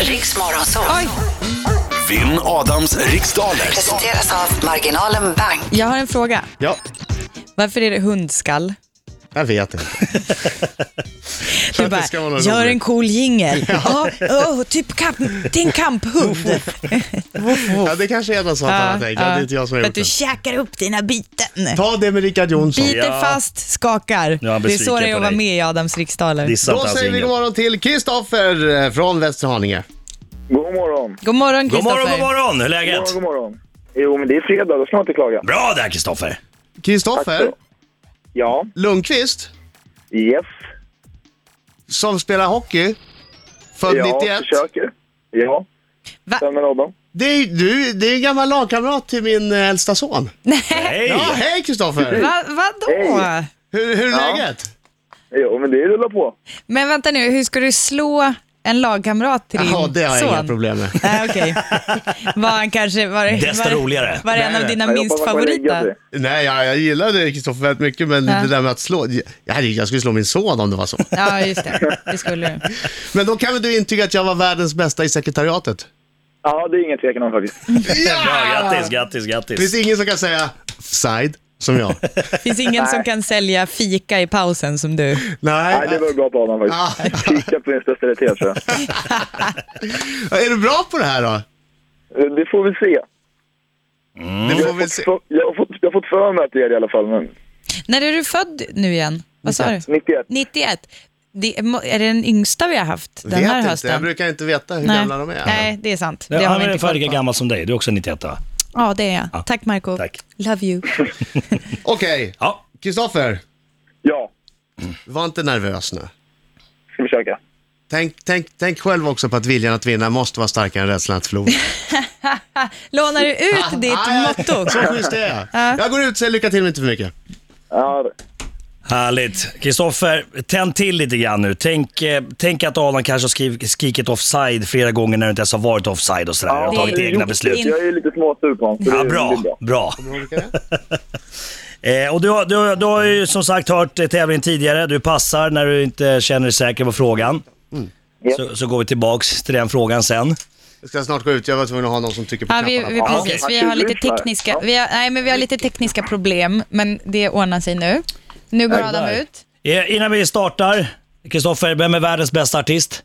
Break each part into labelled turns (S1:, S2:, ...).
S1: Riks Morgonzoo
S2: Oj,
S3: Vinn Adams riksdaler.
S1: presenteras av Marginalen Bank.
S2: jag har en fråga.
S4: Ja,
S2: Varför är det hundskall?
S4: jag vet inte.
S2: Du
S4: att det
S2: bara,
S4: ska vara något
S2: gör
S4: roligt."
S2: en cool jingel. Ja, åh, typ kamp, det är en kamphund.
S4: Ja, det kanske är något sånt han har tänkt. Ja, Det är inte jag som har
S2: För
S4: gjort
S2: att du
S4: det.
S2: käkar upp dina byten.
S4: Ta det med Rickard Jonsson.
S2: Biter
S5: Ja.
S2: fast, skakar.
S5: Nu är han
S2: det är så
S5: besviken
S2: det är
S5: på
S2: att vara
S5: dig.
S2: med i Adams riksdaler.
S5: Dissat
S4: Då
S5: hans
S4: säger vi
S5: jingel.
S4: god morgon till Kristoffer eh, från Västerhaninge.
S6: God morgon.
S2: God morgon
S5: God morgon, god
S2: Kristoffer.
S5: morgon! Hur är
S6: God
S5: läget?
S6: morgon, god morgon. Jo, men det är fredag, då ska man inte klaga.
S5: Bra där Kristoffer!
S6: Tack
S4: Kristoffer
S6: så. Ja,
S4: Lundqvist,
S6: yes.
S4: som spelar hockey, född
S6: Jag
S4: 91.
S6: försöker. Ja,
S2: Va?
S6: stämmer Adam.
S4: Det är, du, det är en gammal lagkamrat till min eh, äldsta son.
S5: Hej!
S4: Ja, hej Kristoffer!
S2: Va, vadå?
S6: Hej.
S4: Hur, hur är
S6: Ja.
S4: läget?
S6: Jo, men det rullar på.
S2: Men vänta nu, hur ska du slå en lagkamrat till din
S4: Jaha, det har jag
S2: son?
S4: inga problem med.
S2: Nej, okej. Var han kanske... Var,
S5: Desto
S2: var,
S5: roligare.
S2: Var det en
S4: Nej,
S2: av
S4: nej.
S2: dina
S6: Jag
S2: minst
S6: hoppas man kan lägga
S2: favoriter?
S6: sig.
S4: Nej, jag, jag gillade Kristoffer väldigt mycket, men
S2: Ja.
S4: det där med att slå. Jag, hade- jag skulle slå min son om det var så.
S2: Ja, just det. Det skulle du.
S4: Men då kan väl du intyga att jag var världens bästa i sekretariatet?
S6: Ja, det är ingen tvekan om faktiskt.
S5: Bra, grattis, grattis,
S4: Det
S5: grattis!
S4: finns ingen som kan säga side som jag.
S2: finns ingen som kan sälja fika i pausen som du.
S4: Nej.
S6: Nej, det var bra på Adam
S4: Ja.
S6: faktiskt. Kika på din specialitet tror jag.
S4: Är du bra på det här då?
S6: Eh, Det får vi se.
S4: Det
S2: Mm.
S6: Jag
S4: får
S6: har,
S4: vi se.
S6: fått, jag, har fått, jag har fått för mig att det är det i alla fall, men
S2: När är du född nu igen? Vad sa du?
S6: 91.
S2: 91. Det, är må- är det den yngsta vi har haft den
S4: Vet
S2: här
S4: inte.
S2: hösten?
S4: Jag brukar inte veta hur gamla de är.
S2: Nej, det är sant. Det
S5: Ja,
S2: har
S5: han
S2: vi
S5: är
S2: inte
S5: ungefär
S2: koll
S5: lika
S2: på.
S5: gammal som dig, du är också 91 va?
S2: Ja, det är jag. Tack Marco.
S5: Tack.
S2: Love you.
S4: Okej,
S5: Ja,
S4: Kristoffer.
S6: Ja,
S4: Var inte nervös nu.
S6: ska försöka.
S4: Tänk, tänk, tänk själv också på att viljan att vinna måste vara starkare än rädslan att förlora.
S2: Lånar du ut ditt
S4: Ah, ja.
S2: motto?
S4: Så schysst är jag. Jag går ut och säger lycka till men inte för mycket.
S6: Ja, det-
S5: härligt. Kristoffer, tänd till lite grann nu. Tänk, eh, tänk att Adam kanske har skriv, skrikit offside flera gånger när du inte ens har varit offside och sådär. och
S2: det-
S5: tagit
S2: det-
S5: egna
S2: det-
S5: beslut.
S6: jag är ju lite småsur på honom. så
S5: Ja,
S6: det- det är
S5: bra, bra.
S4: det?
S5: Eh, och du, har- du, har- du har ju som sagt hört eh, tävlingen tidigare. Du passar när du inte känner dig säker på frågan.
S2: Mm.
S5: Så, så går vi tillbaks till den frågan sen.
S4: Jag ska snart gå ut, jag var tvungen att ha någon som trycker på
S2: Ja, vi,
S4: knapparna.
S2: vi, precis. Vi har lite tekniska, vi har, nej, men vi har lite tekniska problem, men det ordnar sig nu. Nu går Adam
S5: där.
S2: ut.
S5: Eh, innan vi startar, Kristoffer, vem är världens bästa artist?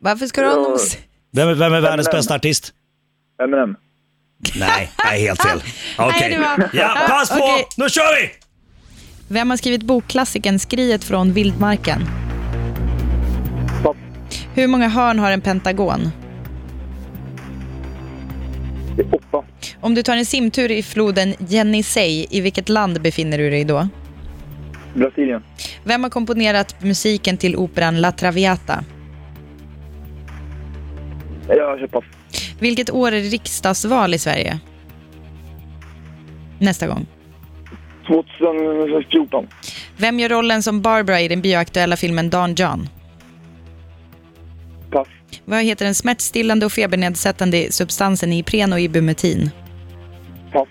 S2: Varför ska du ha nos?
S5: Vem, är- vem är världens
S6: Eminem.
S5: bästa artist?
S6: Eminem.
S5: Nej, nej helt fel.
S2: Nej,
S5: Okej.
S2: det var-
S5: Ja, pass på!
S2: Okej.
S5: Nu kör vi!
S2: Vem har skrivit bokklassikern Skriet från vildmarken?
S6: Pass.
S2: Hur många hörn har en pentagon?
S6: Det är åtta.
S2: Om du tar en simtur i floden Jenisej, i vilket land befinner du dig då?
S6: Brasilien.
S2: Vem har komponerat musiken till operan La Traviata?
S6: Jag kör pass.
S2: Vilket år är det riksdagsval i Sverige? Nästa gång.
S6: 2014.
S2: Vem gör rollen som Barbara i den bioaktuella filmen Don John?
S6: Pass.
S2: Vad heter den smärtstillande och febernedsättande substansen Ipren och Ibumetin?
S6: Pass.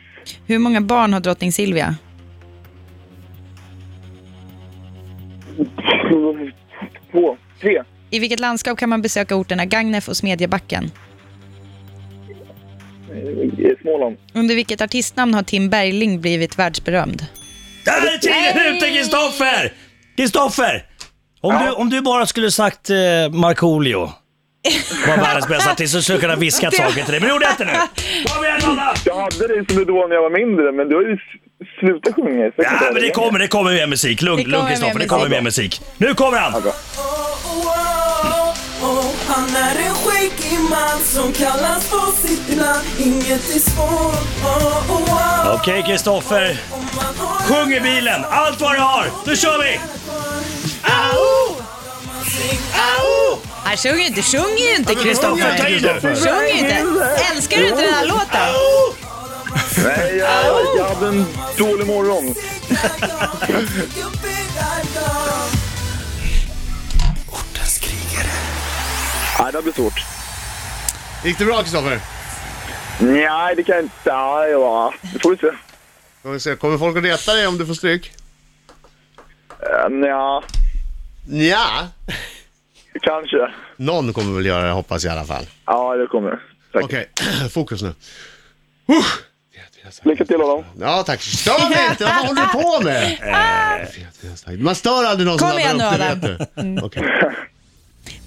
S2: Hur många barn har drottning Silvia?
S6: Två. Tre.
S2: I vilket landskap kan man besöka orterna Gagnef och Smedjebacken?
S6: Eh, Småland.
S2: Under vilket artistnamn har Tim Bergling blivit världsberömd?
S5: Där är tiden ute Kristoffer! Kristoffer! Om, du, om du bara skulle sagt eh, Markoolio var världens bästa artist så skulle jag kunna viska saker till dig. Men det gjorde jag inte nu. Kom igen Adam!
S6: Jag hade det som idol när jag var mindre, men du har ju s- slutat sjunga. Så jag kan inte
S5: Ja,
S6: ha
S5: men det
S6: längre.
S5: kommer, det kommer mer musik. Lugn,
S2: Det kommer
S5: lugn Kristoffer,
S2: mer
S5: det kommer mer musik. Nu kommer han!
S7: Han är en skäggig man som kallas på sitt namn Inget är svårt, oh, oh, oh.
S5: Okej Kristoffer,
S7: Om man har
S5: sjung i bilen, allt vad du har. Nu kör vi! Au! Au!
S2: Han sjunger ju inte, sjunger ju inte
S5: Kristoffer, ta i nu!
S2: Sjunger ju inte. Älskar du inte den här låten?
S5: Au!
S6: Nej, jag, jag hade en dålig morgon.
S7: sina dagar, fick upp era dagar.
S6: Nej, det blir svårt.
S4: Gick det bra Kristoffer?
S6: Nej, det kan jag inte. Ja, ja. Det får vi se.
S4: Får vi se, Kommer folk att reta dig om du får stryk?
S6: Eh, Uh, ja.
S4: Ja.
S6: Kanske.
S4: Någon kommer väl göra det, hoppas jag i alla fall.
S6: Ja, det kommer Tack.
S4: Okej, fokus nu.
S6: Lycka till Adam.
S4: Ja tack. Stör mig inte, vad håller du på med? Man stör aldrig någon
S2: Eh. Kom
S4: som
S2: igen
S4: laddar
S2: nu, Mm.
S4: upp, det vet du. Okej.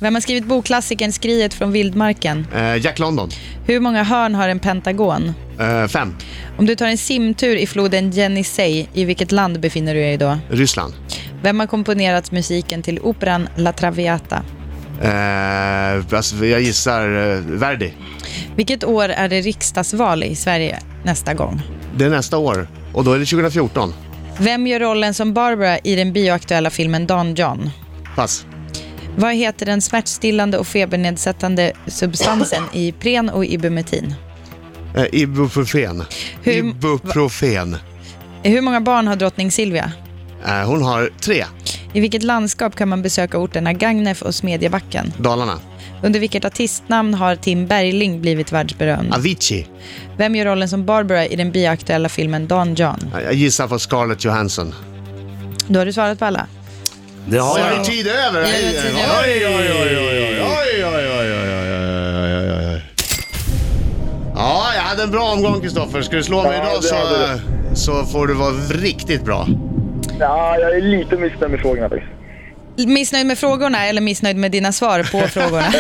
S2: Vem har skrivit bokklassikern Skriet från vildmarken?
S4: Eh, Jack London,
S2: Hur många hörn har en pentagon?
S4: eh, fem.
S2: Om du tar en simtur i floden Jenisej, i vilket land befinner du dig då?
S4: Ryssland.
S2: Vem har komponerat musiken till operan La Traviata?
S4: Eh, alltså, jag gissar eh, Verdi.
S2: Vilket år är det riksdagsval i Sverige nästa gång?
S4: Det är nästa år och då är det 2014.
S2: Vem gör rollen som Barbara i den bioaktuella filmen Don John?
S4: Pass.
S2: Vad heter den smärtstillande och febernedsättande substansen i Ipren och Ibumetin?
S4: Eh, ibuprofen.
S2: Hur-
S4: Ibuprofen.
S2: Hur många barn har drottning Silvia?
S4: Eh, hon har tre.
S2: I vilket landskap kan man besöka orterna Gagnef och Smedjebacken?
S4: Dalarna.
S2: Under vilket artistnamn har Tim Bergling blivit världsberömd?
S4: Avicii.
S2: Vem gör rollen som Barbara i den bioaktuella filmen Don John?
S4: Eh, Jag gissar på Scarlett Johansson.
S2: Då har du svarat på alla.
S5: Det har
S4: Oj,
S5: jag.
S4: är det tid över?
S2: det är tid över.
S4: Oj, oj, oj, oj, oj, oj, oj, oj, oj, oj, oj, oj. Ja, jag hade en bra omgång Kristoffer. Ska du slå mig
S6: Ja,
S4: idag
S6: det
S4: så,
S6: hade
S4: så får du vara riktigt bra.
S6: Ja, jag är lite missnöjd med frågorna faktiskt.
S2: Missnöjd med frågorna eller missnöjd med dina svar på frågorna?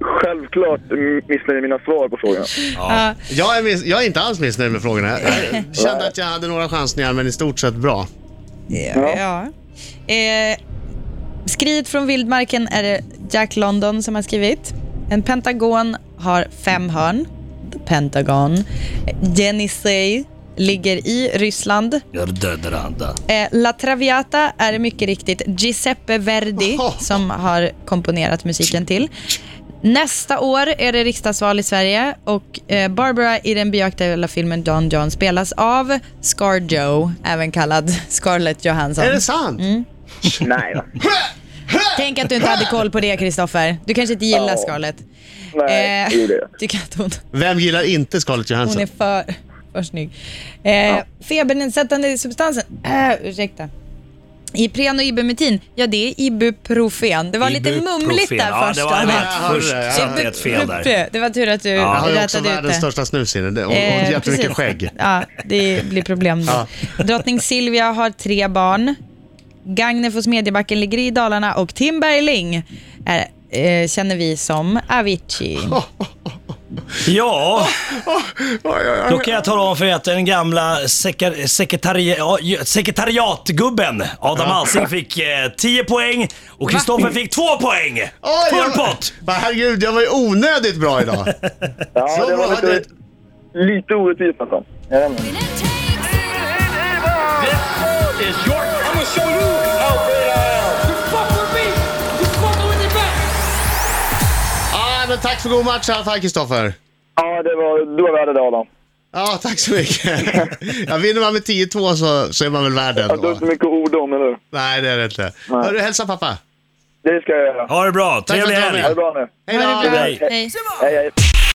S6: Självklart m- missnöjd med mina svar på frågorna.
S2: Ja.
S4: Jag är, miss, jag är inte alls missnöjd med frågorna. Jag kände att jag hade några chansningar, men i stort sett bra.
S2: Ja. Eh, skriet från vildmarken är det Jack London som har skrivit. En pentagon har fem hörn. The Pentagon. Jenisej ligger i Ryssland.
S5: Jag dödar andra.
S2: Eh, La Traviata är det mycket riktigt Giuseppe Verdi som har komponerat musiken till. Nästa år är det riksdagsval i Sverige och eh, Barbara i den bioaktuella filmen Don John spelas av Scar Joe, även kallad Scarlett Johansson.
S4: Är det sant?
S2: Mm.
S6: Nej då.
S2: Tänk att du inte hade koll på det, Kristoffer. Du kanske inte gillar
S6: Ja.
S2: Scarlett. Eh.
S6: Nej, det gjorde jag.
S2: tycker att hon,
S4: Vem gillar inte Scarlett
S2: hon
S4: Johansson?
S2: är för, för snygg. Eh, Febernedsättande substansen. Äh, ursäkta. Ipren och Ibumetin, ja det är ibuprofen. Det var lite
S5: Ibuprofen.
S2: mumligt där
S5: ja,
S2: först.
S5: Det var, det
S2: Anna.
S4: Ja, jag
S5: var
S4: hörde
S5: först
S4: det, jag
S5: satt
S4: hörde
S5: det ett fel där.
S2: Buppe. Det var tur att du
S4: Jag har ju också
S2: rätade ut
S4: världens
S2: det.
S4: största snushinne. Det- Och, och
S2: Eh,
S4: jättemycket
S2: precis.
S4: skägg.
S2: Ja, det blir problem då. Drottning Silvia har tre barn. Gagnef och Smedjebacken ligger i Dalarna och Tim Bergling är, eh, känner vi som Avicii.
S5: Ja,
S4: Oh, Oj, oj, oj.
S5: då kan jag tala om för er att den gamla sekre- sekretari- ja, ju- sekretariatgubben Adam Alsing fick eh, 10 poäng och Kristoffer fick 2 poäng.
S4: Oj,
S5: Full
S4: jag-
S5: pott!
S4: Men Herregud, jag var ju onödigt bra idag.
S6: Ja,
S4: Så
S6: det
S4: bra
S6: var
S4: hade
S6: lite, lite orättvist nästan. Jag vet inte.
S4: Ah, men tack för god match i alla fall Kristoffer.
S6: Ja, det var, du var värd det Adam.
S4: Ja, tack så mycket. Ja, vinner man med 10-2 så, så är man väl värd den.
S6: Det var inte mycket ord om, eller hur?
S4: Nej, det är det inte. Hörru, hälsa pappa.
S6: Det ska jag göra.
S5: Ha det bra, trevlig
S4: för att du var med.
S5: helg!
S6: Ha det bra nu.
S4: Hej då.
S2: Ha det bra. Hej.
S6: Hej, hej.